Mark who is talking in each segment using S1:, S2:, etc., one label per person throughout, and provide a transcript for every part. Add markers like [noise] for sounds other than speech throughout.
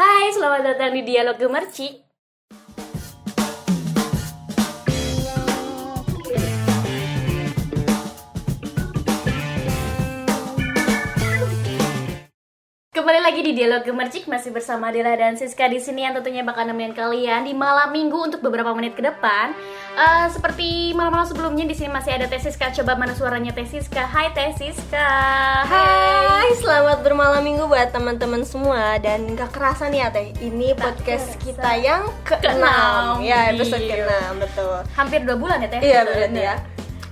S1: Hai, selamat datang di Dialog Gemercik. Kembali lagi di Dialog Gemercik masih bersama Dila dan Siska di sini yang tentunya bakal nemenin kalian di malam minggu untuk beberapa menit ke depan. Eh, seperti malam-malam sebelumnya di sini masih ada Teh Siska. Coba mana suaranya Teh Siska? Hai Teh Siska.
S2: Hai, selamat bermalam minggu buat teman-teman semua dan gak kerasa nih ya teh, ini podcast
S1: kerasa.
S2: kita yang
S1: Keenam.
S2: keenam, ya episode
S1: Iya.
S2: keenam betul.
S1: Hampir dua bulan ya Teh?
S2: Iya berarti ya.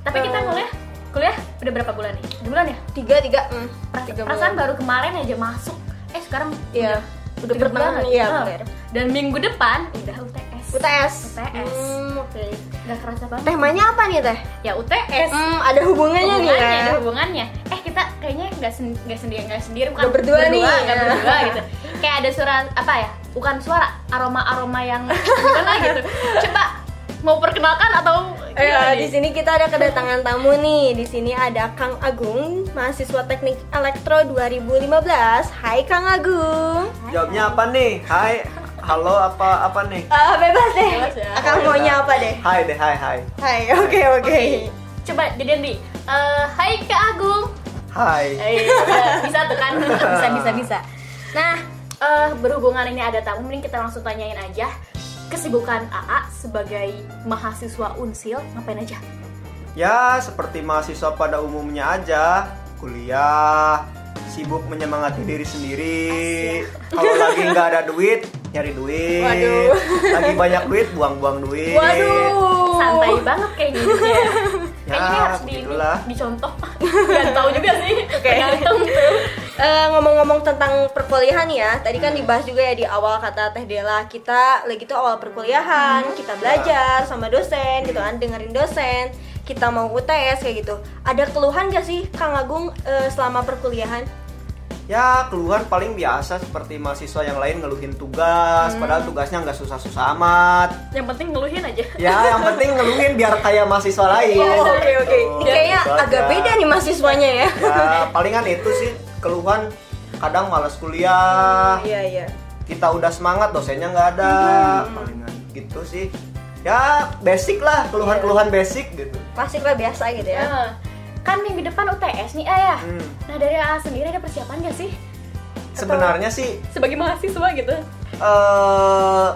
S1: Tapi kita kuliah, kuliah udah berapa bulan nih? Dua bulan ya?
S2: Tiga tiga, hmm,
S1: Perasaan,
S2: tiga
S1: perasaan baru kemarin aja masuk. Eh sekarang
S2: Iya, udah
S1: udah tiga
S2: pertengahan.
S1: bulan.
S2: Iya
S1: Oh.
S2: benar.
S1: Dan minggu depan udah UTS.
S2: UTS.
S1: UTS.
S2: Hmm, oke.
S1: Gak kerasa banget.
S2: Temanya apa nih teh?
S1: Ya UTS.
S2: Hmm, ada hubungannya nih
S1: hubungannya, ada
S2: ya.
S1: hubungannya. Eh kita kayaknya nggak sen- nggak sendiri nggak sendiri bukan
S2: Nggak berdua nih.
S1: nggak
S2: Iya.
S1: berdua gitu. Kayak ada suara apa ya? Bukan suara, aroma aroma yang gimana gitu. Coba mau perkenalkan atau gimana
S2: Ya,
S1: nih?
S2: di sini kita ada kedatangan tamu nih. Di sini ada Kang Agung, mahasiswa Teknik Elektro 2015. Hai Kang Agung.
S3: Jawabnya apa nih? Hai, halo apa apa nih?
S2: Ah, bebas deh.
S1: Bebas ya.
S2: Akang maunya apa deh?
S3: Hai deh, hai hai.
S2: Hai, oke oke.
S1: Coba jadi nih. Eh, hai Kak Agung.
S3: Hai.
S1: Eh, udah. bisa tuh kan? bisa bisa bisa. Nah, eh, berhubungan ini ada tamu, mending kita langsung tanyain aja kesibukan AA sebagai mahasiswa Unsil ngapain aja?
S3: Ya, seperti mahasiswa pada umumnya aja, kuliah, sibuk menyemangati diri sendiri. Kalau lagi nggak ada duit, nyari duit.
S2: Waduh.
S3: Lagi banyak duit, buang-buang duit.
S2: Waduh.
S1: Santai banget kayaknya. hidupnya. Kayaknya ini
S3: Ya,
S1: harus di,
S3: begitulah.
S1: dicontoh. Gak tahu juga sih. Tergantung tuh.
S2: Eh, ngomong-ngomong tentang perkuliahan ya, tadi kan dibahas juga ya di awal kata Teh Dela kita lagi tuh awal perkuliahan,
S1: Hmm.
S2: kita belajar sama dosen gitu kan, dengerin dosen, kita mau UTS kayak gitu. Ada keluhan gak sih Kang Agung eh, selama perkuliahan?
S3: Ya, keluhan paling biasa seperti mahasiswa yang lain ngeluhin
S2: Hmm.
S3: tugas, padahal tugasnya nggak susah-susah amat.
S1: Yang penting ngeluhin aja.
S3: Ya, yang penting ngeluhin biar kayak mahasiswa lain.
S1: Iya.
S2: Oh, Ini Iya, kayaknya
S3: Gitu aja.
S2: agak beda nih mahasiswanya ya.
S3: ya palingan itu sih keluhan kadang malas kuliah
S2: Iya iya.
S3: kita udah semangat dosennya nggak ada palingan gitu sih ya basic lah
S2: Iya.
S3: keluhan-keluhan basic gitu
S2: Klasik lah biasa gitu ya.
S1: Eh, kan minggu depan UTS nih ayah.
S3: Hmm.
S1: Nah dari AA sendiri ada persiapan gak sih?
S3: sebenarnya sih
S1: Sebagai mahasiswa gitu.
S3: eh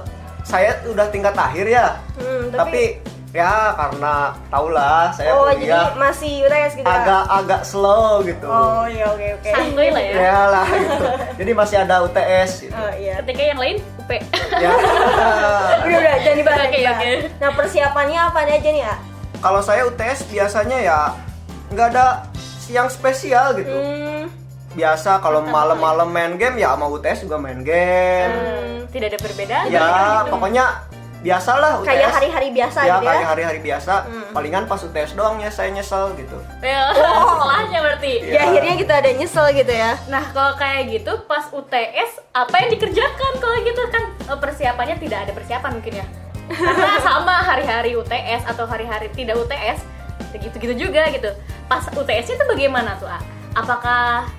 S3: saya udah tingkat akhir ya
S2: Hmm,
S3: tapi, ya karena tahulah saya
S2: oh jadi
S3: kuliah
S2: masih UTS gitu. Kak?
S3: agak agak slow gitu
S2: Oh iya oke oke.
S1: Santuy lah ya.
S3: ya lah gitu. jadi masih ada UTS gitu
S2: Oh iya.
S1: Ketika yang lain UP.
S3: ya
S2: [laughs] Udah, udah, jangan dibahas.
S1: Oke,
S2: jangan
S1: oke.
S2: dibahas. Nah, persiapannya apa aja nih, ya? Kak?
S3: kalau saya UTS biasanya ya nggak ada yang spesial gitu
S2: Hmm,
S3: biasa kalau malam-malam main game ya sama UTS juga main
S2: Hmm.
S3: game
S1: Hmm, Tidak ada perbedaan.
S3: ya pokoknya biasalah UTS
S2: kayak hari-hari biasa
S3: ya
S2: gitu ya. Hmm.
S3: kayak hari-hari biasa palingan pas UTS doang ya saya nyesel gitu [laughs]
S1: Ya, [laughs] sekolahnya berarti.
S2: Ya akhirnya kita ada nyesel gitu ya.
S1: Nah, kalau kayak gitu pas UTS apa yang dikerjakan kalau gitu kan eh, persiapannya tidak ada persiapan mungkin ya. Karena [laughs] sama hari-hari UTS atau hari-hari tidak UTS gitu-gitu juga gitu. Pas UTS itu bagaimana tuh, A? Apakah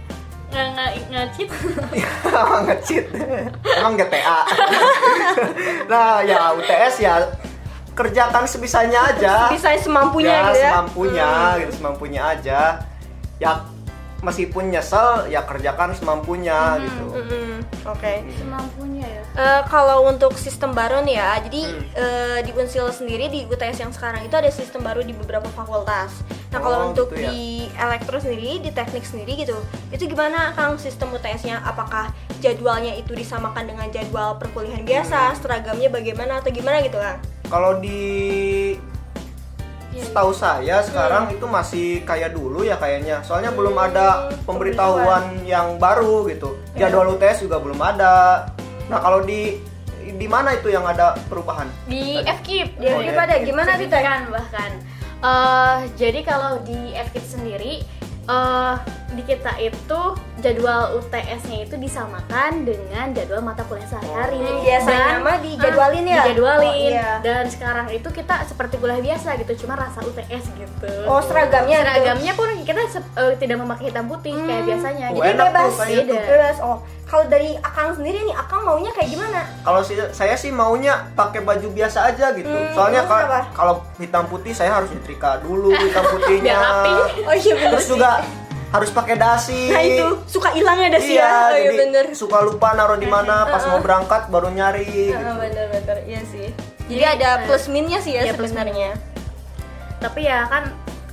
S1: nge nge, nge cheat?
S3: emang ngecit emang
S2: [laughs]
S3: GTA nah ya UTS ya kerjakan sebisanya aja
S2: Bisa semampunya
S3: ya,
S2: gitu ya.
S3: semampunya gitu semampunya aja ya meskipun nyesel ya kerjakan semampunya gitu
S2: Hmm, Oke.
S1: Semampunya ya.
S2: Eh, kalau untuk sistem baru nih ya, jadi
S3: Hmm.
S2: eh, di Unsil sendiri di UTS yang sekarang itu ada sistem baru di beberapa fakultas. Nah kalau
S3: Oh,
S2: untuk
S3: gitu ya.
S2: di elektro sendiri, di teknik sendiri gitu, itu gimana kang sistem UTS-nya? Apakah jadwalnya itu disamakan dengan jadwal perkuliahan
S3: Hmm.
S2: biasa? Seragamnya bagaimana atau gimana gitu kang?
S3: kalau di
S2: Iya,
S3: setahu
S2: Hmm.
S3: saya sekarang itu masih kayak dulu ya kayaknya soalnya belum ada pemberitahuan yang baru gitu
S2: Iya.
S3: jadwal UTS juga belum ada nah kalau di di mana itu yang ada perubahan
S1: di FKIP
S2: Di FKIP ada. Gimana tuh, Teh?
S1: kan bahkan Eh, jadi kalau di FKIP sendiri eh di kita itu jadwal UTS-nya itu disamakan dengan jadwal mata kuliah sehari-hari
S2: Hmm, biasanya
S1: Dan,
S2: mah dijadwalin
S1: eh,
S2: ya?
S1: dijadwalin.
S2: Oh, iya.
S1: dan sekarang itu kita seperti kuliah biasa gitu cuma rasa UTS gitu
S2: Oh seragamnya? gitu. Hmm.
S1: seragamnya pun kita se- eh, tidak memakai hitam putih kayak biasanya
S3: Oh,
S1: Jadi
S3: enak tuh
S1: bebas
S3: kayaknya
S1: beda.
S2: Iya, bebas. Oh kalau dari Akang sendiri nih, Akang maunya kayak gimana?
S3: Kalau si- saya sih maunya pakai baju biasa aja gitu.
S2: Hmm,
S3: Soalnya
S2: terus
S3: ka-
S2: apa?
S3: kalau hitam putih saya harus nyetrika dulu
S2: [laughs]
S3: hitam putihnya.
S1: Biar rapi.
S2: Oh iya bener
S3: Hmm. Terus
S2: sih.
S3: juga harus pakai dasi.
S2: Nah itu suka hilangnya ada sih
S3: iya,
S2: ya. Oh iya
S3: jadi
S2: bener.
S3: suka lupa naruh di mana pas mau berangkat baru nyari.
S2: Ah,
S3: gitu.
S2: bener bener iya sih. Jadi ada plus minnya sih ya,
S1: Iya, plus
S2: sebenarnya.
S1: tapi ya kan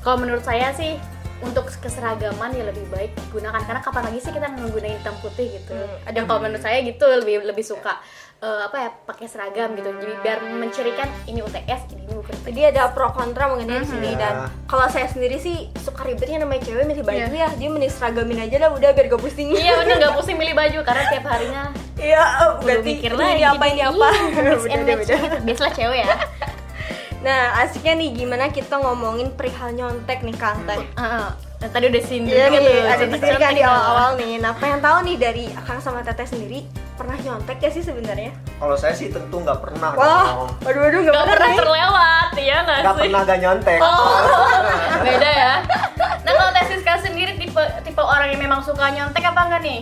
S1: kalau menurut saya sih untuk keseragaman ya lebih baik gunakan karena kapan lagi sih kita menggunakan hitam putih gitu
S2: Hmm.
S1: dan kalau menurut saya gitu lebih lebih suka eh, apa ya pakai seragam gitu jadi biar mencirikan ini UTS ini bukan UTS.
S2: Jadi ada pro kontra mengenai di sini
S3: Iya.
S2: dan kalau saya sendiri sih suka ribetnya namanya cewek milih baju
S1: Iya.
S2: ya. Dia mending seragamin aja lah udah biar gak pusing.
S1: iya bener nggak pusing milih baju karena tiap harinya
S2: [laughs] Iya, eh,
S1: udah
S2: ganti
S1: mikir
S2: ini
S1: lagi
S2: apa ini
S1: [laughs]
S2: [laughs]
S1: Iya,
S2: apa.
S1: mix and
S2: Beda-beda.
S1: match gitu. biasalah cewek ya
S2: Nah, asiknya nih gimana kita ngomongin perihal nyontek nih Kang Teh.
S1: Heeh. Nah, tadi udah singgung
S2: Mm. Iya
S1: gitu,
S2: nih, ada di sini kan
S1: cantik-cantik
S2: di
S1: lah.
S2: awal-awal nih. Nah, pengen tahu nih dari Kang sama Teteh sendiri pernah nyontek gak sih sebenarnya?
S3: Kalau saya sih tentu nggak pernah.
S2: Wah,
S3: dong.
S2: waduh-waduh nggak
S1: Gak
S2: pernah
S1: pernah
S2: nih.
S1: terlewat, ya iya. nggak
S3: nggak
S1: sih?
S3: pernah gak nyontek.
S2: Oh.
S1: Beda ya. Nah kalau Tesiska sendiri tipe tipe orang yang memang suka nyontek apa enggak nih?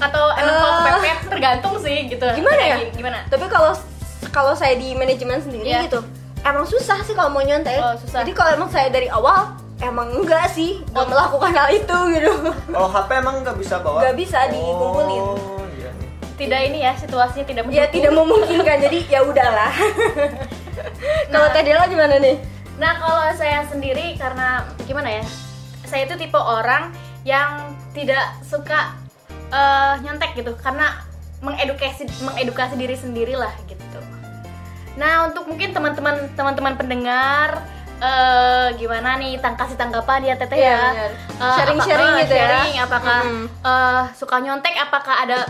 S1: Atau emang kalau
S2: Eh.
S1: kepepet tergantung sih gitu.
S2: Gimana ya?
S1: Gi- Gimana?
S2: Tapi kalau kalau saya di manajemen sendiri
S1: Iya.
S2: gitu, emang susah sih kalau mau nyontek.
S1: Oh, susah.
S2: Jadi kalau emang saya dari awal emang enggak sih nggak melakukan hal itu [laughs] gitu.
S3: Kalau HP emang nggak bisa bawa?
S2: Nggak bisa dikumpulin.
S3: Oh, iya nih.
S1: Tidak ini ya situasinya tidak mendukung.
S2: ya tidak memungkinkan. Jadi ya [laughs] udahlah. Kalau Teh Dela gimana nih?
S1: Nah kalau saya sendiri karena gimana ya? Saya itu tipe orang yang tidak suka eh, nyontek gitu karena mengedukasi mengedukasi diri sendiri lah gitu. Nah untuk mungkin teman-teman teman-teman pendengar eh, gimana nih tang kasih tanggapan ya teteh
S2: Iya,
S1: ya
S2: benar.
S1: Eh,
S2: Sharing-sharing
S1: apa-
S2: gitu ya.
S1: sharing, apakah
S2: Mm.
S1: eh, suka nyontek apakah ada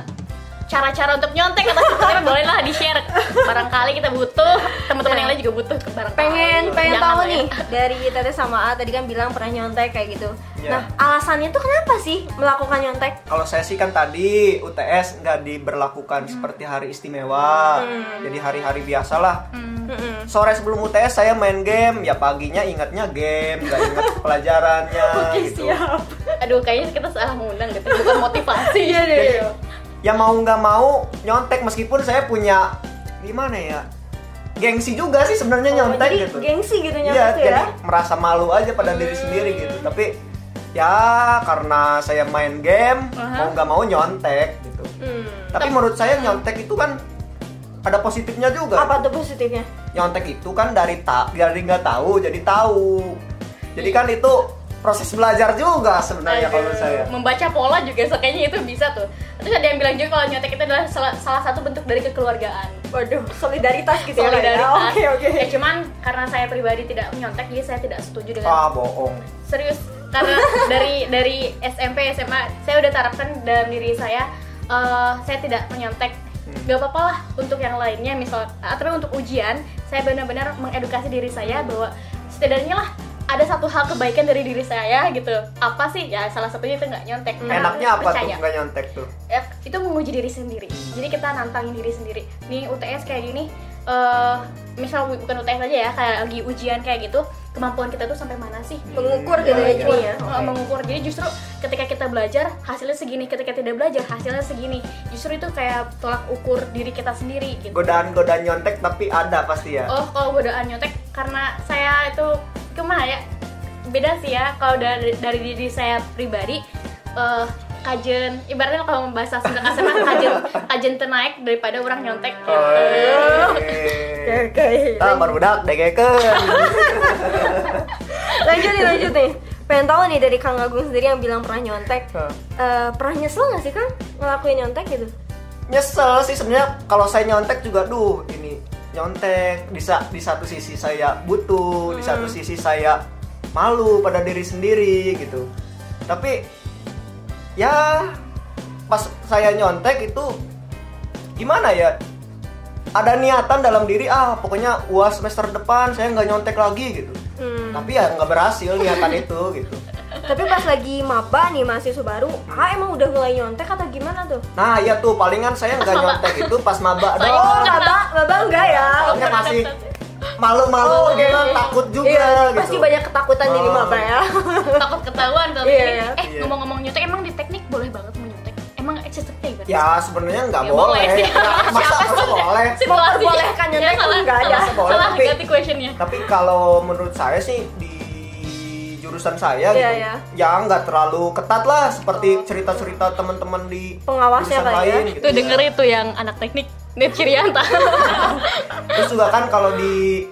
S1: cara-cara untuk nyontek atau seperti boleh lah di share barangkali kita butuh teman-teman yang lain juga butuh barangkali
S2: pengen pengen
S1: Jangan
S2: tahu
S1: lah ya.
S2: nih dari Tete sama A tadi kan bilang pernah nyontek kayak gitu.
S3: Iya.
S2: Nah alasannya tuh kenapa sih melakukan nyontek?
S3: Kalau saya sih kan tadi UTS nggak diberlakukan
S2: Hmm.
S3: seperti hari istimewa, jadi hari-hari biasalah.
S2: Mm-mm. [laughs]
S3: Sore sebelum UTS saya main game, ya paginya ingatnya game, nggak
S2: [laughs]
S3: ingat pelajarannya gitu.
S1: aduh kayaknya kita salah ngundang gitu bukan motivasi
S2: Iya deh.
S3: Ya mau nggak mau nyontek meskipun saya punya gimana ya, gengsi juga sih sebenarnya nyontek
S2: Oh, Jadi
S3: gitu.
S2: gengsi gitu nyontek
S3: Iya,
S2: tuh ya. Hmm.
S3: jadi merasa malu aja pada diri sendiri gitu. Tapi ya karena saya main game, mau nggak mau nyontek gitu.
S2: Hmm.
S3: Tapi menurut saya nyontek itu kan ada positifnya juga.
S2: Apa tuh positifnya?
S3: Nyontek itu kan dari tak dari nggak tahu jadi tahu. Jadi kan itu proses belajar juga sebenarnya Nah, ya, kalau menurut saya.
S1: membaca pola juga so, kayaknya itu bisa tuh terus ada yang bilang juga kalau nyontek itu adalah salah, salah satu bentuk dari kekeluargaan
S2: Waduh, solidaritas gitu ya.
S1: solidaritas
S2: Kak, ya? Oke oke.
S1: ya cuman karena saya pribadi tidak menyontek jadi saya tidak setuju dengan
S3: Ah bohong.
S1: serius karena dari dari SMP SMA saya udah terapkan dalam diri saya eh, saya tidak menyontek gak apa-apa lah untuk yang lainnya misal atau untuk ujian saya benar-benar mengedukasi diri saya bahwa setidaknya lah ada satu hal kebaikan dari diri saya gitu apa sih ya salah satunya itu nggak nyontek Karena
S3: Enaknya apa
S1: percaya.
S3: tuh nggak nyontek tuh?
S1: Ya, itu menguji diri sendiri jadi kita nantangin diri sendiri nih UTS kayak gini eh misal bu- bukan UTS aja ya kayak lagi ujian kayak gitu kemampuan kita tuh sampai mana sih
S2: Mengukur gitu ya
S3: Iya.
S2: jadinya.
S1: Mengukur, eh, mengukur jadi justru ketika kita belajar hasilnya segini ketika tidak belajar hasilnya segini justru itu kayak tolak ukur diri kita sendiri gitu
S3: Godaan-godaan nyontek tapi ada pasti ya.
S1: oh kalau godaan nyontek karena saya itu kemana ya beda sih ya kalau dari, dari diri saya pribadi eh kajen ibaratnya kalau bahasa Sunda kasar mah kajen kajen ternaik daripada orang nyontek ya.
S3: Oh, iya.
S2: Oke oke.
S3: Oke. Ah baru udah degeken.
S2: Lanjut nih lanjut nih. Pengen tahu nih dari Kang Agung sendiri yang bilang pernah nyontek.
S3: Hah.
S2: Eh, pernah nyesel gak sih Kang ngelakuin nyontek gitu?
S3: nyesel sih sebenarnya kalau saya nyontek juga duh ini nyontek di, sa- di satu sisi saya butuh di satu sisi saya malu pada diri sendiri gitu tapi ya pas saya nyontek itu gimana ya ada niatan dalam diri ah pokoknya uas semester depan saya nggak nyontek lagi gitu
S2: Hmm.
S3: tapi ya nggak berhasil niatan itu gitu
S2: Tapi pas lagi maba nih mahasiswa baru, ah emang udah mulai nyontek atau gimana tuh?
S3: nah ya tuh palingan saya nggak nyontek itu pas maba
S1: Saya
S3: doang
S2: Oh, maba, maba enggak ya?
S3: Soalnya masih malu-malu
S2: Oh,
S3: gitu,
S2: iya.
S3: takut juga
S2: Iya,
S3: gitu.
S2: pasti banyak ketakutan jadi
S3: Oh.
S2: maba ya.
S1: [laughs] takut ketahuan kalau
S2: Iya,
S1: begini.
S2: iya.
S1: eh
S3: Iya.
S1: ngomong-ngomong nyontek emang di teknik boleh banget menyontek eh emang it's just a favor
S3: Ya sebenarnya nggak
S1: Ya,
S3: boleh.
S1: boleh
S2: [laughs]
S1: sih.
S3: Ya, masa masa boleh.
S2: Memperbolehkannya
S1: Ya,
S2: tuh
S1: salah,
S2: nggak kan ada.
S1: salah,
S3: Boleh,
S1: salah
S3: tapi- Gitu.
S1: ganti questionnya
S3: Tapi kalau menurut saya sih di jurusan
S2: Iya,
S3: saya gitu,
S2: iya.
S3: ya nggak terlalu ketat lah seperti cerita-cerita teman-teman di
S2: Pengawasnya
S3: jurusan
S2: kali ya.
S3: lain. gitu.
S1: itu denger itu yang anak teknik Net Kirianta
S3: Terus juga kan kalau di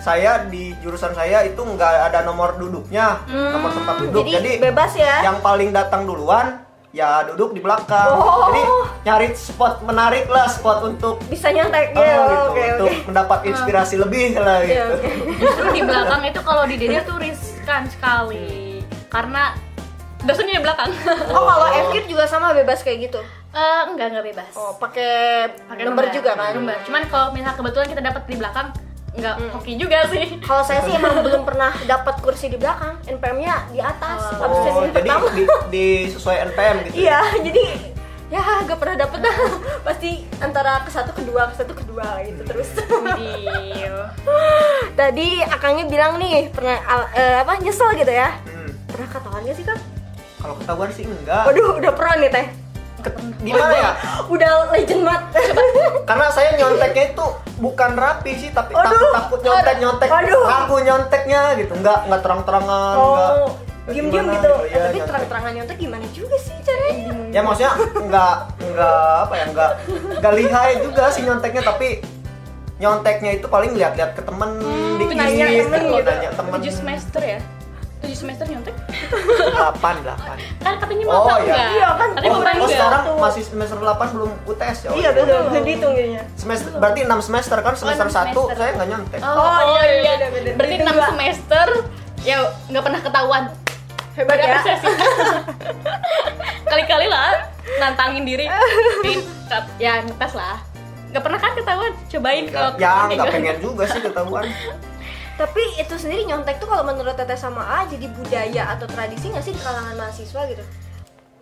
S3: saya di jurusan saya itu nggak ada nomor duduknya, nomor tempat duduk.
S2: Hmm. Jadi, bebas ya.
S3: yang paling datang duluan ya duduk di belakang.
S2: Oh.
S3: Jadi nyari spot menarik lah, spot untuk
S2: Bisa nyantai
S3: eh,
S2: ya.
S3: gitu,
S2: Oke
S3: untuk
S2: oke.
S3: mendapat inspirasi lebih
S2: Iya,
S3: lah gitu.
S2: oke.
S1: justru di belakang itu kalau di dede tuh riskan sekali karena dosennya di belakang
S2: Oh, kalau Evkir juga sama bebas kayak gitu.
S1: [laughs] Eh, enggak enggak bebas
S2: Oh, pakai
S1: Pakai
S2: nomor juga kan? Hmm.
S1: nomor cuman kalau misal kebetulan kita dapat di belakang enggak hoki juga sih
S2: Kalau saya sih emang belum pernah dapat kursi di belakang, NPM-nya di atas,
S1: Oh.
S2: habis
S3: Oh,
S2: sesi
S3: jadi
S2: pertama.
S3: di, di- sesuai NPM gitu. ya?
S2: Iya, jadi ya gak pernah dapet dah. Pasti antara ke satu kedua, ke satu kedua gitu terus.
S1: Video.
S2: Tadi Akangnya bilang nih pernah al- eh, apa nyesel gitu ya.
S3: Hmm.
S2: Pernah ketahuan gak sih, Kang?
S3: Kalau ketahuan sih enggak.
S2: Waduh, udah pro nih teh.
S3: Gimana ya?
S2: Udah legend [laughs] banget.
S3: Karena saya nyonteknya itu bukan rapi sih, tapi
S2: Aduh.
S3: takut takut nyontek nyontek,
S2: Aduh.
S3: aku nyonteknya gitu, nggak nggak terang terangan, nggak
S2: Oh, diem-diem
S3: gimana
S2: gitu.
S3: ya,
S2: Eh, tapi
S3: nyontek.
S2: terang-terangan nyontek gimana juga sih caranya?
S3: Ya maksudnya nggak nggak apa ya nggak nggak lihai juga sih nyonteknya, tapi nyonteknya itu paling lihat-lihat ke temen dikit,
S2: Hmm, nanya temen
S3: gitu,
S2: gitu.
S3: nanya temen.
S1: 7 semester ya 7 semester nyontek
S3: Delapan delapan.
S1: kan katanya
S3: Oh,
S1: mau apa
S3: iya.
S1: enggak
S2: Iya, kan.
S1: Tadi
S3: Oh,
S1: mau
S3: oh,
S1: enggak
S3: sekarang masih semester 8 belum UTS ya?
S2: Iya,
S3: Oh,
S2: belum belum dihitung kayaknya.
S3: Semester, berarti 6 semester kan semester
S1: enam
S3: 1
S1: semester.
S3: saya nggak nyontek.
S1: Oh,
S2: Oh,
S1: oh,
S2: iya, iya,
S1: iya,
S2: iya, bener.
S1: berarti
S2: Itu
S1: 6
S2: juga.
S1: semester ya nggak pernah ketahuan
S2: Hebat
S1: Nggak
S2: ya.
S1: bisa
S2: [laughs]
S1: sih. kali-kali lah nantangin diri Tapi, tet- ya ngetes lah nggak pernah kan ketahuan cobain kalau gitu.
S3: ya nggak pengen juga sih
S2: [laughs]
S3: ketahuan.
S2: Tapi itu sendiri nyontek tuh kalau menurut Teteh sama A jadi budaya atau tradisi nggak sih di kalangan mahasiswa gitu?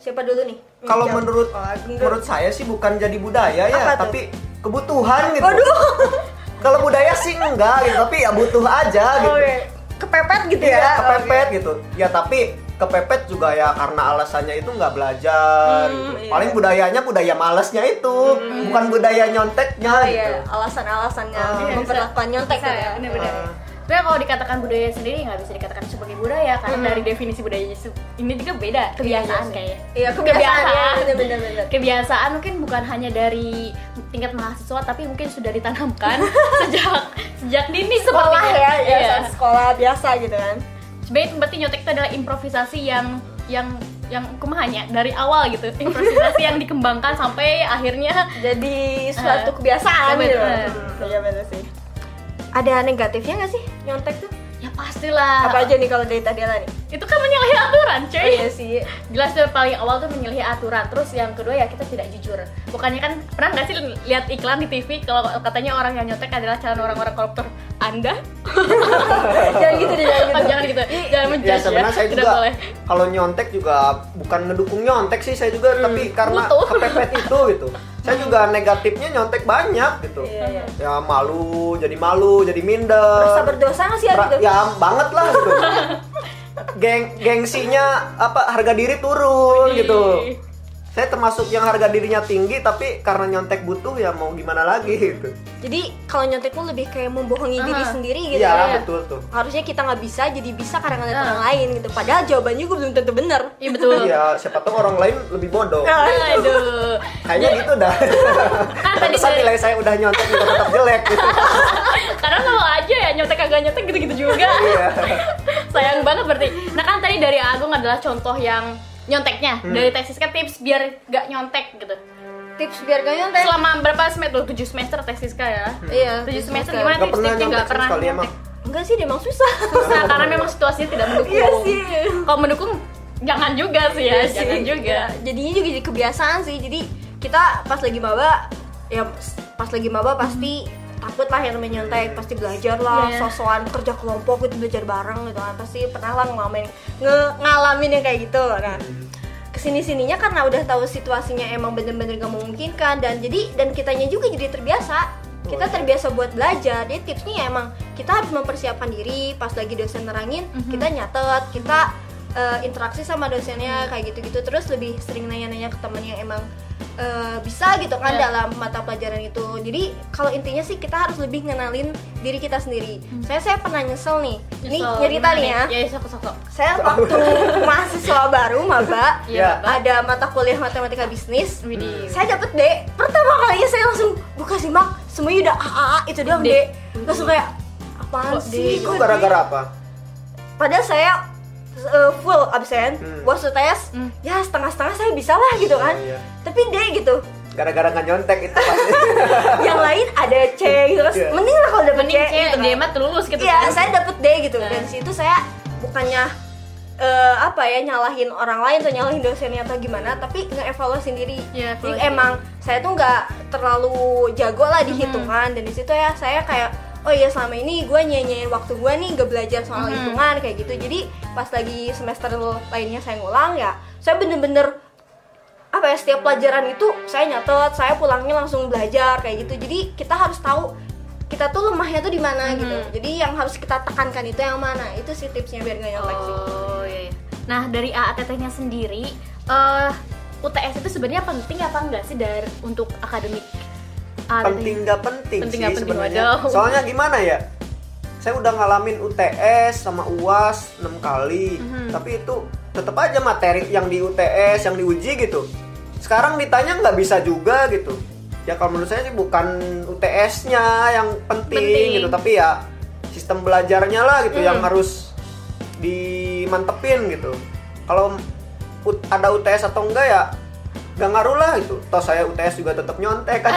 S2: Siapa dulu nih?
S3: Kalau
S2: Jawab.
S3: menurut
S2: Oh, Gendut.
S3: menurut saya sih bukan jadi budaya ya,
S2: Apa tuh?
S3: tapi kebutuhan
S2: [laughs]
S3: gitu.
S2: Waduh.
S3: Kalau budaya sih enggak gitu, tapi ya butuh aja gitu.
S2: Oke. Kepepet gitu
S3: Iya,
S2: ya.
S3: kepepet gitu. Ya tapi kepepet juga ya karena alasannya itu nggak belajar.
S2: Hmm, iya.
S3: gitu. Paling budayanya budaya malesnya itu, bukan budaya nyonteknya
S2: Oh,
S3: gitu.
S2: iya, alasan-alasannya
S3: Ah.
S1: Iya,
S2: memperlakukan nyontek gitu ya.
S1: bener-bener
S3: Ah.
S1: Sebenarnya kalau dikatakan budaya sendiri nggak bisa dikatakan sebagai budaya karena dari definisi budaya itu- ini juga beda kebiasaan
S2: sih.
S1: kayaknya.
S2: Iya, kebiasaan ya, bener-bener.
S1: Kebiasaan mungkin bukan hanya dari tingkat mahasiswa tapi mungkin sudah
S2: [laughs]
S1: ditanamkan sejak sejak dini
S2: Sekolah
S1: sepertinya.
S2: ya,
S1: Iya.
S2: biasa sekolah biasa gitu kan.
S1: Sebenarnya berarti nyontek itu adalah improvisasi yang yang yang kumahanya dari awal gitu improvisasi yang dikembangkan sampai akhirnya
S2: Jadi
S1: Ah.
S2: suatu kebiasaan
S1: Iya,
S2: gitu.
S1: bener.
S2: Hmm, Iya bener sih. Ada negatifnya nggak sih nyontek tuh?
S1: ya pastilah
S2: Apa aja nih kalau dari Tadela nih?
S1: itu kan menyalahi aturan cuy
S2: Oh, iya sih.
S1: jelas tuh paling awal tuh menyelih aturan terus yang kedua ya kita tidak jujur bukannya kan pernah nggak sih lihat iklan di TV kalau katanya orang yang nyontek adalah calon orang-orang koruptor anda
S2: jangan gitu deh, jangan
S1: Oh,
S2: gitu. iya,
S1: jangan gitu jangan menjudge
S3: Ya sebenarnya saya
S1: tidak
S3: juga
S1: boleh
S3: kalau nyontek juga bukan ngedukung nyontek sih saya juga tapi karena
S1: butuh.
S3: kepepet itu gitu. Saya juga negatifnya nyontek banyak gitu.
S2: Iya, iya.
S3: Ya malu, jadi malu, jadi minder.
S2: Merasa berdosa nggak sih ya
S3: Pra-
S2: gitu?
S3: ya banget lah gitu. Geng gengsinya apa harga diri turun
S1: Wih.
S3: gitu. Saya termasuk yang harga dirinya tinggi tapi karena nyontek butuh ya mau gimana lagi gitu.
S2: Jadi kalau nyontek tuh lebih kayak membohongi diri
S1: Aha.
S2: sendiri gitu.
S3: Iya,
S2: ya.
S3: betul tuh.
S2: Harusnya kita nggak bisa jadi bisa karena ngeliat
S1: Ah.
S2: orang lain gitu. Padahal jawabannya juga belum tentu benar.
S1: iya betul
S3: Iya, siapa tahu orang lain lebih bodoh.
S1: aduh
S3: Kayaknya gitu dah.
S1: Iya. kan
S3: [laughs]
S1: tadi
S3: Pantesan
S1: dari-
S3: nilai saya udah nyontek juga tetap jelek gitu.
S1: karena kalau aja ya nyontek agak nyontek gitu-gitu juga
S3: Iya.
S1: [laughs] sayang banget berarti nah kan tadi dari Agung adalah contoh yang nyonteknya dari tesis kan tips biar gak nyontek gitu
S2: Tips biar gak nyontek.
S1: selama berapa semester? 7 semester tesiska ya
S2: Iya.
S1: 7 semester
S2: Oke.
S1: gimana
S3: Nggak pernah
S1: tips-tipsnya
S3: nyontek
S1: nggak
S3: sama
S1: pernah
S3: sekali emang.
S1: nyontek
S2: Enggak sih, dia emang susah. [laughs]
S1: susah Nah, karena memang situasinya tidak mendukung
S2: Iya sih.
S1: kalau mendukung jangan juga sih ya
S2: Iya sih.
S1: jangan juga
S2: Iya. Jadinya juga jadi kebiasaan sih. Jadi kita pas lagi maba ya pas lagi maba pasti takut lah yang namanya nyontek pasti belajar lah
S1: Iya.
S2: sosokan kerja kelompok gitu belajar bareng gitu kan pasti pernah lah ngalamin nge- ngalamin yang kayak gitu nah kesini sininya karena udah tahu situasinya emang bener-bener gak memungkinkan dan jadi dan kitanya juga jadi terbiasa kita terbiasa buat belajar jadi
S1: Mhm.
S2: tipsnya ya emang kita harus mempersiapkan diri pas lagi dosen nerangin kita nyatet kita eh, interaksi sama
S1: Mhm.
S2: dosennya kayak gitu-gitu terus lebih sering nanya-nanya ke temen yang emang eh, bisa gitu kan
S1: Ya.
S2: dalam mata pelajaran itu jadi kalau intinya sih kita harus lebih ngenalin diri kita sendiri saya saya pernah nyesel nih ini
S1: Mhm. Nyesel,
S2: cerita
S1: gimana
S2: nih ya
S1: Ya sok-sok.
S2: saya waktu
S1: [laughs]
S2: mahasiswa baru maba
S1: Iya,
S3: Ya.
S1: Mbak.
S2: ada mata kuliah matematika bisnis
S1: Widih.
S2: saya dapet D pertama kalinya saya langsung buka simak semuanya udah AA itu doang
S1: D.
S2: D langsung kayak apaan
S1: Kok D
S2: sih Gitu.
S3: Itu gara-gara apa?
S2: padahal saya eh, full absen
S3: Hmm.
S2: buat UTS
S1: Hmm.
S2: ya setengah-setengah saya bisa lah gitu kan
S3: Iya, iya.
S2: tapi D gitu
S3: Gara-gara nggak nyontek itu pasti.
S2: yang lain ada C gitu kan
S3: Iya.
S2: mending lah kalau dapet
S1: Mending
S2: C
S1: kayak
S2: gitu kan.
S1: dia mah lulus gitu.
S2: Iya,
S1: kan.
S2: saya dapet D gitu. Dan
S1: Nah.
S2: situ saya bukannya eh, apa ya nyalahin orang lain atau nyalahin dosennya atau gimana, tapi ngevaluasi sendiri.
S1: Iya,
S2: Jadi
S1: evaluasi.
S2: emang saya tuh nggak terlalu jago lah
S1: Hmm.
S2: di hitungan dan di situ ya saya kayak oh iya selama ini gue nyanyiin waktu gue nih nggak belajar soal
S1: Mhm.
S2: hitungan kayak gitu. Jadi pas lagi semester lainnya saya ngulang ya, saya bener-bener apa ya setiap pelajaran itu saya nyatet saya pulangnya langsung belajar kayak gitu jadi kita harus tahu kita tuh lemahnya tuh di mana gitu jadi yang harus kita tekankan itu yang mana itu sih tipsnya biar nggak nyontek sih
S1: Oh iya. iya. Nah dari AATT-nya sendiri, eh UTS itu sebenarnya penting apa enggak sih dari untuk akademik? AATT? [laughs]
S3: penting nggak penting,
S1: Ah, Penting nggak penting,
S3: sih sebenarnya.
S1: waduh.
S3: Soalnya gimana ya? Saya udah ngalamin UTS sama UAS 6 kali,
S1: Mhm.
S3: tapi itu tetap aja materi yang di UTS yang diuji gitu. Sekarang ditanya nggak bisa juga gitu. Ya kalau menurut saya sih bukan UTS-nya yang penting,
S1: Penting. Mhm.
S3: gitu, tapi ya sistem belajarnya lah gitu yang harus dimantepin gitu. Kalau ut- ada UTS atau enggak ya nggak ngaruh lah itu. Toh saya UTS juga tetap nyontek kan.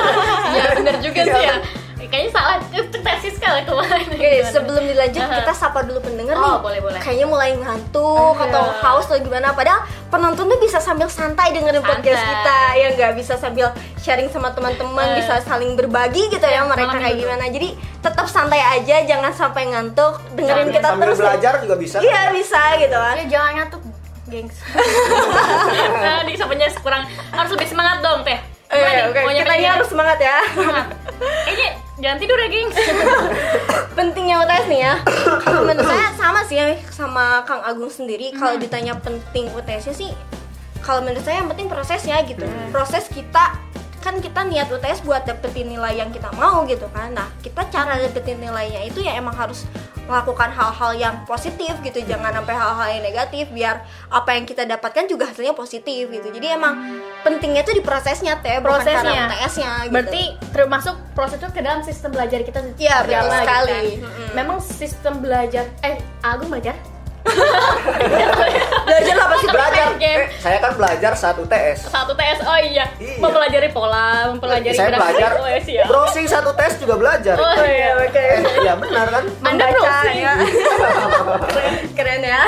S1: [laughs] ya benar juga
S3: Iya.
S1: sih
S2: [laughs]
S1: ya. Kayaknya salah itu tesis kali ya kemarin.
S2: Oke, deh, sebelum dilanjut
S1: Aha.
S2: kita sapa dulu pendengar
S1: Oh,
S2: nih.
S1: boleh, boleh.
S2: Kayaknya mulai ngantuk
S1: Aha.
S2: atau haus atau gimana. Padahal penonton tuh bisa sambil santai dengerin
S1: Santai.
S2: podcast kita ya nggak bisa sambil sharing sama teman-teman,
S1: Eh.
S2: bisa saling berbagi gitu
S1: Ya,
S2: ya mereka
S1: malam
S2: kayak
S1: minggu.
S2: gimana. Jadi tetap santai aja, jangan sampai ngantuk. Dengerin
S1: Jangan.
S2: kita
S3: sambil
S2: terus. ya.
S3: belajar juga bisa
S2: Iya, bisa gitu kan.
S1: Ya jangan ngantuk, [laughs] gengs. Tadi sebenarnya Nah, kurang harus lebih semangat dong teh.
S2: Eh,
S1: Gimana nih? Mau
S2: oke. Kita
S1: nyampein
S2: ini
S1: gimana?
S2: harus semangat ya.
S1: semangat. Kayaknya jangan tidur ya gengs.
S2: [laughs] Pentingnya UTS nih ya. Kalau [coughs] menurut saya sama sih ya sama Kang Agung sendiri. Kalau ditanya penting UTS-nya sih, kalau menurut saya yang penting prosesnya gitu. Proses kita kan kita niat UTS buat dapetin nilai yang kita mau gitu kan. Nah, kita cara dapetin nilainya itu ya emang harus melakukan hal-hal yang positif gitu jangan sampai hal-hal yang negatif biar apa yang kita dapatkan juga hasilnya positif gitu jadi emang pentingnya itu di prosesnya teh bukan karena
S1: Prosesnya.
S2: UTS-nya gitu.
S1: Berarti termasuk proses itu ke dalam sistem belajar kita
S2: Iya, betul
S1: berjalan, gitu
S2: sekali.
S1: kan.
S2: Mm-mm.
S1: Memang sistem belajar eh Agung belajar?
S2: [laughs] belajar apa sih
S1: main
S3: belajar
S1: game.
S3: Eh, saya kan belajar saat UTS
S1: Satu TS oh iya,
S3: Iya.
S1: mempelajari pola, mempelajari
S3: saya
S1: grafis.
S3: belajar
S1: Oh, iya, siap.
S3: browsing satu tes juga belajar
S1: Oh iya.
S2: Oke, oke.
S3: eh, ya benar kan
S1: Anda
S2: membaca
S1: browsing.
S2: ya. [laughs] Keren ya.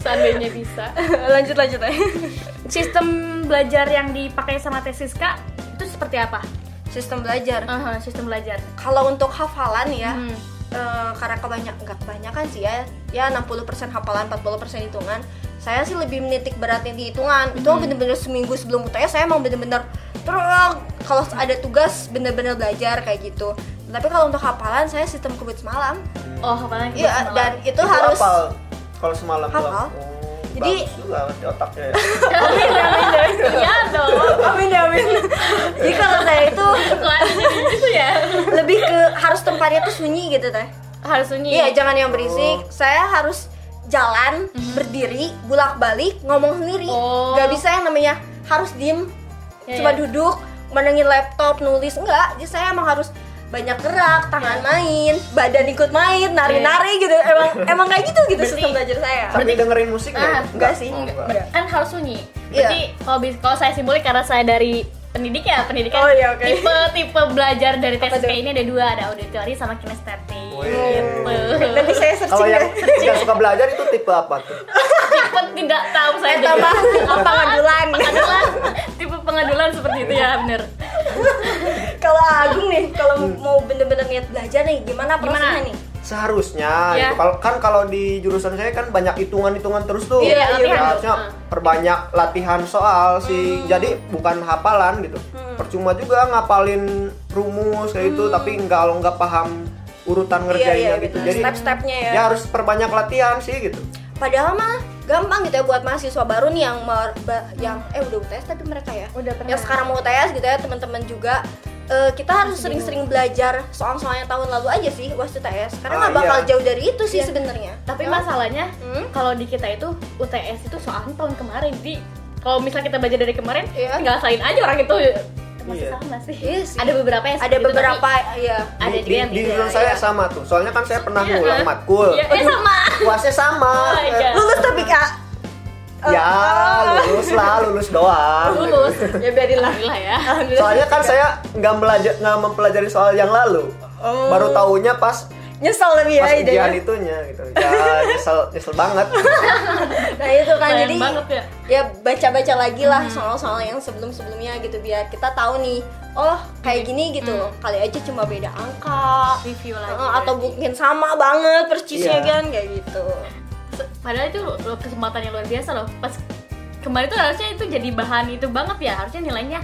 S1: Seandainya bisa.
S2: lanjut lanjut ya.
S1: Sistem belajar yang dipakai sama Tesiska itu seperti apa?
S2: Sistem belajar.
S1: Aha, sistem belajar.
S2: Kalau untuk hafalan ya,
S1: Hmm.
S2: eh, karena kebanyak nggak kebanyakan sih ya, ya 60% hafalan, 40% hitungan. Saya sih lebih menitik beratnya di hitungan. Itu bener-bener seminggu sebelum UTS saya emang bener-bener terus kalau ada tugas bener-bener belajar kayak gitu. Tapi kalau untuk hafalan saya sistem kebut semalam.
S1: Oh, apalagi
S2: Iya,
S1: semalam.
S2: dan itu, harus
S3: hafal kalau semalam tuh.
S2: Hafal.
S3: Oh,
S2: Jadi-
S3: bagus juga berarti
S1: [laughs]
S3: otaknya ya.
S1: Iya dong.
S2: [laughs] Amin [laughs] amin. Jadi kalau saya itu
S1: Soalnya itu ya.
S2: lebih ke harus tempatnya tuh sunyi gitu teh.
S1: Harus sunyi.
S2: Iya, jangan yang berisik. Saya harus jalan, berdiri, bolak-balik, ngomong sendiri.
S1: Oh.
S2: Gak bisa yang namanya harus diem,
S1: Ya,
S2: cuma
S1: ya.
S2: duduk, menengin laptop, nulis enggak. Jadi saya emang harus banyak gerak, tangan main, badan ikut main, nari-nari gitu. Emang emang kayak gitu gitu
S1: Berarti-
S2: sistem belajar saya.
S3: sambil dengerin musik nggak?
S1: Ah,
S2: enggak sih.
S3: Oh, enggak.
S2: Enggak.
S1: kan harus sunyi.
S2: Iya.
S1: Berarti kalau bis- kalau saya simbolik karena saya dari pendidik ya, pendidikan.
S2: Oh, iya, oke.
S1: Tipe tipe belajar dari tes
S2: tuh?
S1: ini ada dua, ada auditori sama kinestetik.
S3: Wih.
S2: Nanti saya
S3: kalau
S2: searching ya.
S3: [laughs] yang
S2: deh.
S3: tidak suka belajar itu tipe apa tuh
S1: [laughs] tipe tidak tahu saya
S2: Eh, tambah [laughs]
S1: Apaan? [laughs]
S2: pengadulan.
S1: pengadulan tipe pengadulan seperti itu
S2: Iya.
S1: ya bener
S2: Kalau Agung nih, kalau mau bener-bener niat belajar nih, gimana prosesnya nih?
S3: seharusnya
S1: Ya.
S3: gitu. kalau kan kalau di jurusan saya kan banyak hitungan hitungan terus tuh
S1: Iya,
S3: Ya,
S1: latihan.
S3: harusnya
S1: Ah. Hmm.
S3: perbanyak latihan soal sih jadi bukan gitu,
S1: Hmm.
S3: hafalan gitu percuma juga ngapalin rumus kayak itu tapi nggak kalau nggak paham
S2: Iya,
S3: urutan
S2: iya,
S3: ngerjainnya gitu.
S2: betul.
S3: Jadi
S2: Step-stepnya ya.
S3: ya harus perbanyak latihan sih gitu.
S2: Padahal mah gampang gitu ya buat mahasiswa baru nih yang mer- ba- yang eh udah UTS tapi mereka ya.
S1: Udah pernah.
S2: Yang sekarang mau UTS gitu ya teman-teman juga Eh, kita harus sering-sering belajar soal-soal yang tahun lalu aja sih waktu UTS karena
S3: Ah,
S2: nggak bakal
S3: iya.
S2: jauh dari itu sih sebenarnya.
S1: Tapi
S2: Ya.
S1: masalahnya
S2: Hmm?
S1: kalau di kita itu UTS itu soalnya tahun kemarin di kalau misalnya kita belajar dari kemarin
S2: Iya.
S1: tinggal salin aja orang itu masih
S3: Iya.
S1: sama sih.
S2: Iya sih.
S1: Ada beberapa yang
S2: ada
S1: seperti itu,
S2: beberapa ya
S1: Ada
S3: Di-
S1: juga yang
S3: di, di
S1: tidak,
S3: jurusan saya
S2: ya.
S3: sama tuh. Soalnya kan saya pernah
S1: Iya,
S3: ngulang
S1: eh.
S3: matkul.
S1: Iya, eh, sama.
S3: Puasnya sama.
S1: Oh, iya.
S3: Eh,
S2: lulus tapi kak
S3: Ya, lulus lah, lulus doang.
S1: tapi lulus.
S2: ya biarin lah
S1: Alhamdulillah ya.
S3: Soalnya kan saya nggak belajar nggak mempelajari soal yang lalu.
S2: Oh.
S3: Baru taunya pas
S2: nyesel tapi ya
S3: pas ujian
S2: idenya.
S3: itunya gitu. Ya nyesel nyesel banget.
S2: nah itu kan
S1: Sayang
S2: jadi
S1: banget ya.
S2: ya baca-baca lagi lah soal-soal yang sebelum-sebelumnya gitu biar kita tahu nih oh kayak gini gitu kali aja cuma beda angka
S1: Review lagi.
S2: Eh, atau mungkin sama banget persisnya
S3: Iya.
S2: kan kayak gitu
S1: Se- Padahal itu lo- lo kesempatan yang luar biasa loh. Pas kemarin tuh harusnya itu jadi bahan itu banget ya. Harusnya nilainya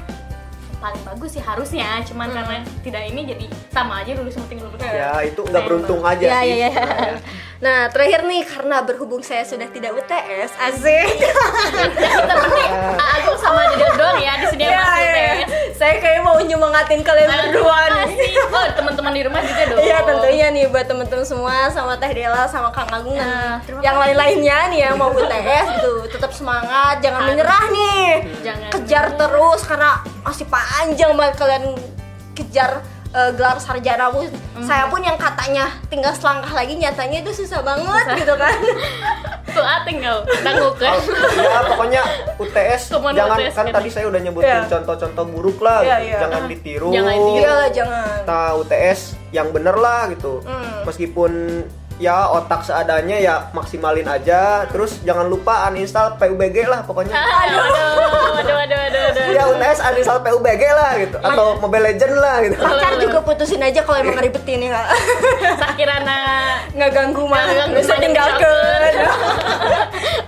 S1: paling bagus sih harusnya. Cuman
S2: Hmm.
S1: karena tidak ini jadi sama aja lulus penting lulus.
S2: Iya.
S3: Ya itu nggak beruntung
S2: [laughs]
S3: aja
S2: ya ya ya
S3: sih. Iya, sebenarnya.
S2: nah terakhir nih karena berhubung saya sudah tidak UTS asik
S1: Kita berarti aku sama Dedon doang ya di sini
S2: [laughs]
S1: yang
S2: Ya,
S1: masih
S2: ya, ya.
S1: UTS.
S2: saya kayak mau nyemangatin kalian berdua nih
S1: Makasih. Oh, teman-teman di rumah juga dong.
S2: Iya tentunya nih buat temen-temen semua sama Teh Dela sama Kang Agung
S1: Nah,
S2: dan
S1: terima
S2: yang lain-lainnya nih yang mau UTS tuh tetap semangat jangan
S1: Harus.
S2: menyerah nih
S1: Jangan
S2: kejar
S1: menyerah.
S2: terus karena masih panjang banget kalian kejar eh, gelar sarjana pun
S1: Hmm.
S2: saya pun yang katanya tinggal selangkah lagi nyatanya itu susah banget gitu
S1: [laughs]
S2: kan
S1: Tuh ah, ating kau. Tanggukan.
S3: ya pokoknya UTS
S1: Teman
S3: jangan
S1: UTS
S3: kan
S1: kan.
S3: tadi saya udah nyebutin
S2: Iya.
S3: contoh-contoh buruk lah
S2: Iya,
S3: gitu.
S2: iya.
S3: jangan
S1: Ah,
S3: ditiru
S1: jangan ditiru.
S2: iya lah jangan
S3: nah UTS yang bener lah gitu
S2: Hmm.
S3: meskipun ya otak seadanya ya maksimalin aja terus jangan lupa uninstall PUBG lah
S2: [laughs]
S3: pokoknya
S1: Aduh, aduh, aduh, aduh, aduh.
S2: Iya.
S3: ya UTS uninstall PUBG lah gitu atau Mobile Legend lah gitu
S2: pacar juga putusin aja kalau emang ngeribetin ya
S1: [laughs]
S2: nggak
S1: Sakirana.
S2: nggak ganggu mah
S1: Nggak ganggu,
S2: bisa
S1: mah,
S2: tinggalkan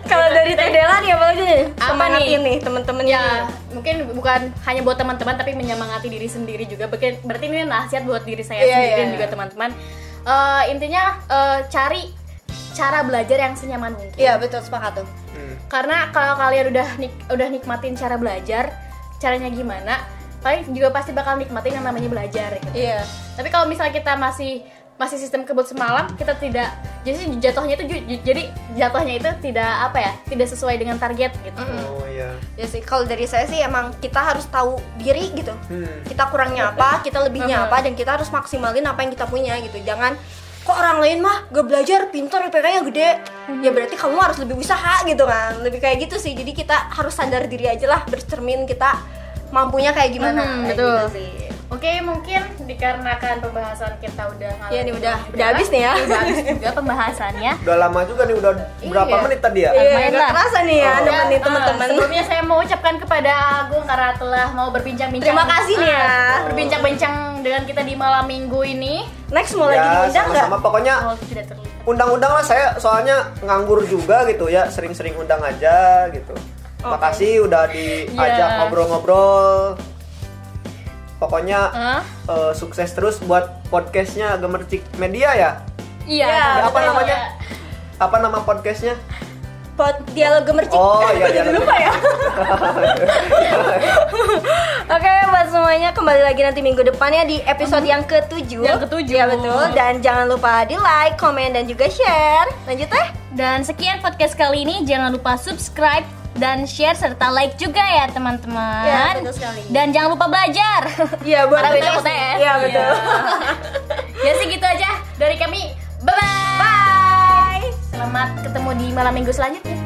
S2: kalau dari Teh Dela nih apalagi nih
S1: Apa
S2: semangatin
S1: nih?
S2: nih temen-temen
S1: [laughs] Ya,
S2: nih.
S1: mungkin bukan hanya buat teman-teman tapi menyemangati diri sendiri juga. Berarti berarti ini nasihat buat diri saya
S2: Iya,
S1: sendiri
S2: iya,
S1: dan
S2: iya.
S1: juga teman-teman. Eh, intinya eh, cari cara belajar yang senyaman mungkin.
S2: Iya betul sepakat tuh.
S3: Hmm.
S1: karena kalau kalian udah nik- udah nikmatin cara belajar caranya gimana kalian juga pasti bakal nikmatin yang namanya belajar gitu.
S2: Iya.
S1: tapi kalau misalnya kita masih masih sistem kebut semalam kita tidak jadi jatuhnya itu ju- ju- jadi jatuhnya itu tidak apa ya tidak sesuai dengan target gitu
S3: oh ya
S2: Ya sih kalau dari saya sih emang kita harus tahu diri gitu.
S3: Hmm.
S2: Kita kurangnya apa, kita lebihnya apa dan kita harus maksimalin apa yang kita punya gitu. Jangan kok orang lain mah gak belajar pintar IPK-nya gede.
S1: Hmm.
S2: Ya berarti kamu harus lebih usaha gitu kan. Lebih kayak gitu sih. Jadi kita harus sadar diri aja lah bercermin kita mampunya kayak gimana.
S1: Mhm,
S2: Kayak
S1: betul.
S2: gitu sih.
S1: oke mungkin dikarenakan pembahasan kita udah ngalor
S2: Iya nih udah
S1: ngidul
S2: udah
S1: juga,
S2: habis nih ya.
S1: [laughs] udah
S2: [laughs]
S1: habis juga pembahasannya
S3: udah lama juga nih udah berapa
S1: Iya.
S3: menit tadi ya
S1: Iya.
S2: Iya, gak
S1: lah.
S2: kerasa nih ya
S3: Oh.
S2: nemenin
S1: Ya,
S2: teman-teman.
S1: eh, sebelumnya saya mau ucapkan kepada Agung karena telah mau berbincang-bincang.
S2: Terima kasih nih ya.
S1: Eh, Berbincang-bincang dengan kita di malam minggu ini.
S2: Next mau lagi
S3: ya
S2: diundang nggak?
S3: sama-sama pokoknya
S1: Kalau tidak terlihat.
S3: undang-undang lah saya soalnya nganggur juga gitu ya sering-sering undang aja gitu makasih udah
S1: Iya.
S3: diajak ngobrol-ngobrol pokoknya
S1: Hah?
S3: eh, sukses terus buat podcastnya Gemercik Media ya
S1: Iya.
S2: Ya,
S1: betul.
S3: apa namanya? apa nama podcastnya
S2: Pot dialog gemercik.
S3: oh iya iya
S2: lupa ya. Oke buat semuanya kembali lagi nanti minggu depannya di episode Hmm. yang ketujuh.
S1: Yang ketujuh.
S2: Iya betul. Dan jangan lupa di like, komen dan juga share. Lanjut ya. teh.
S1: Dan sekian podcast kali ini. Jangan lupa subscribe dan share serta like juga ya teman-teman.
S2: Ya, betul sekali.
S1: Dan jangan lupa belajar. [laughs]
S2: Iya buat
S1: Karena
S2: UTS.
S1: kita UTS.
S2: Iya betul.
S1: ya sih gitu aja dari kami. Bye bye. Bye. Selamat ketemu di malam minggu selanjutnya.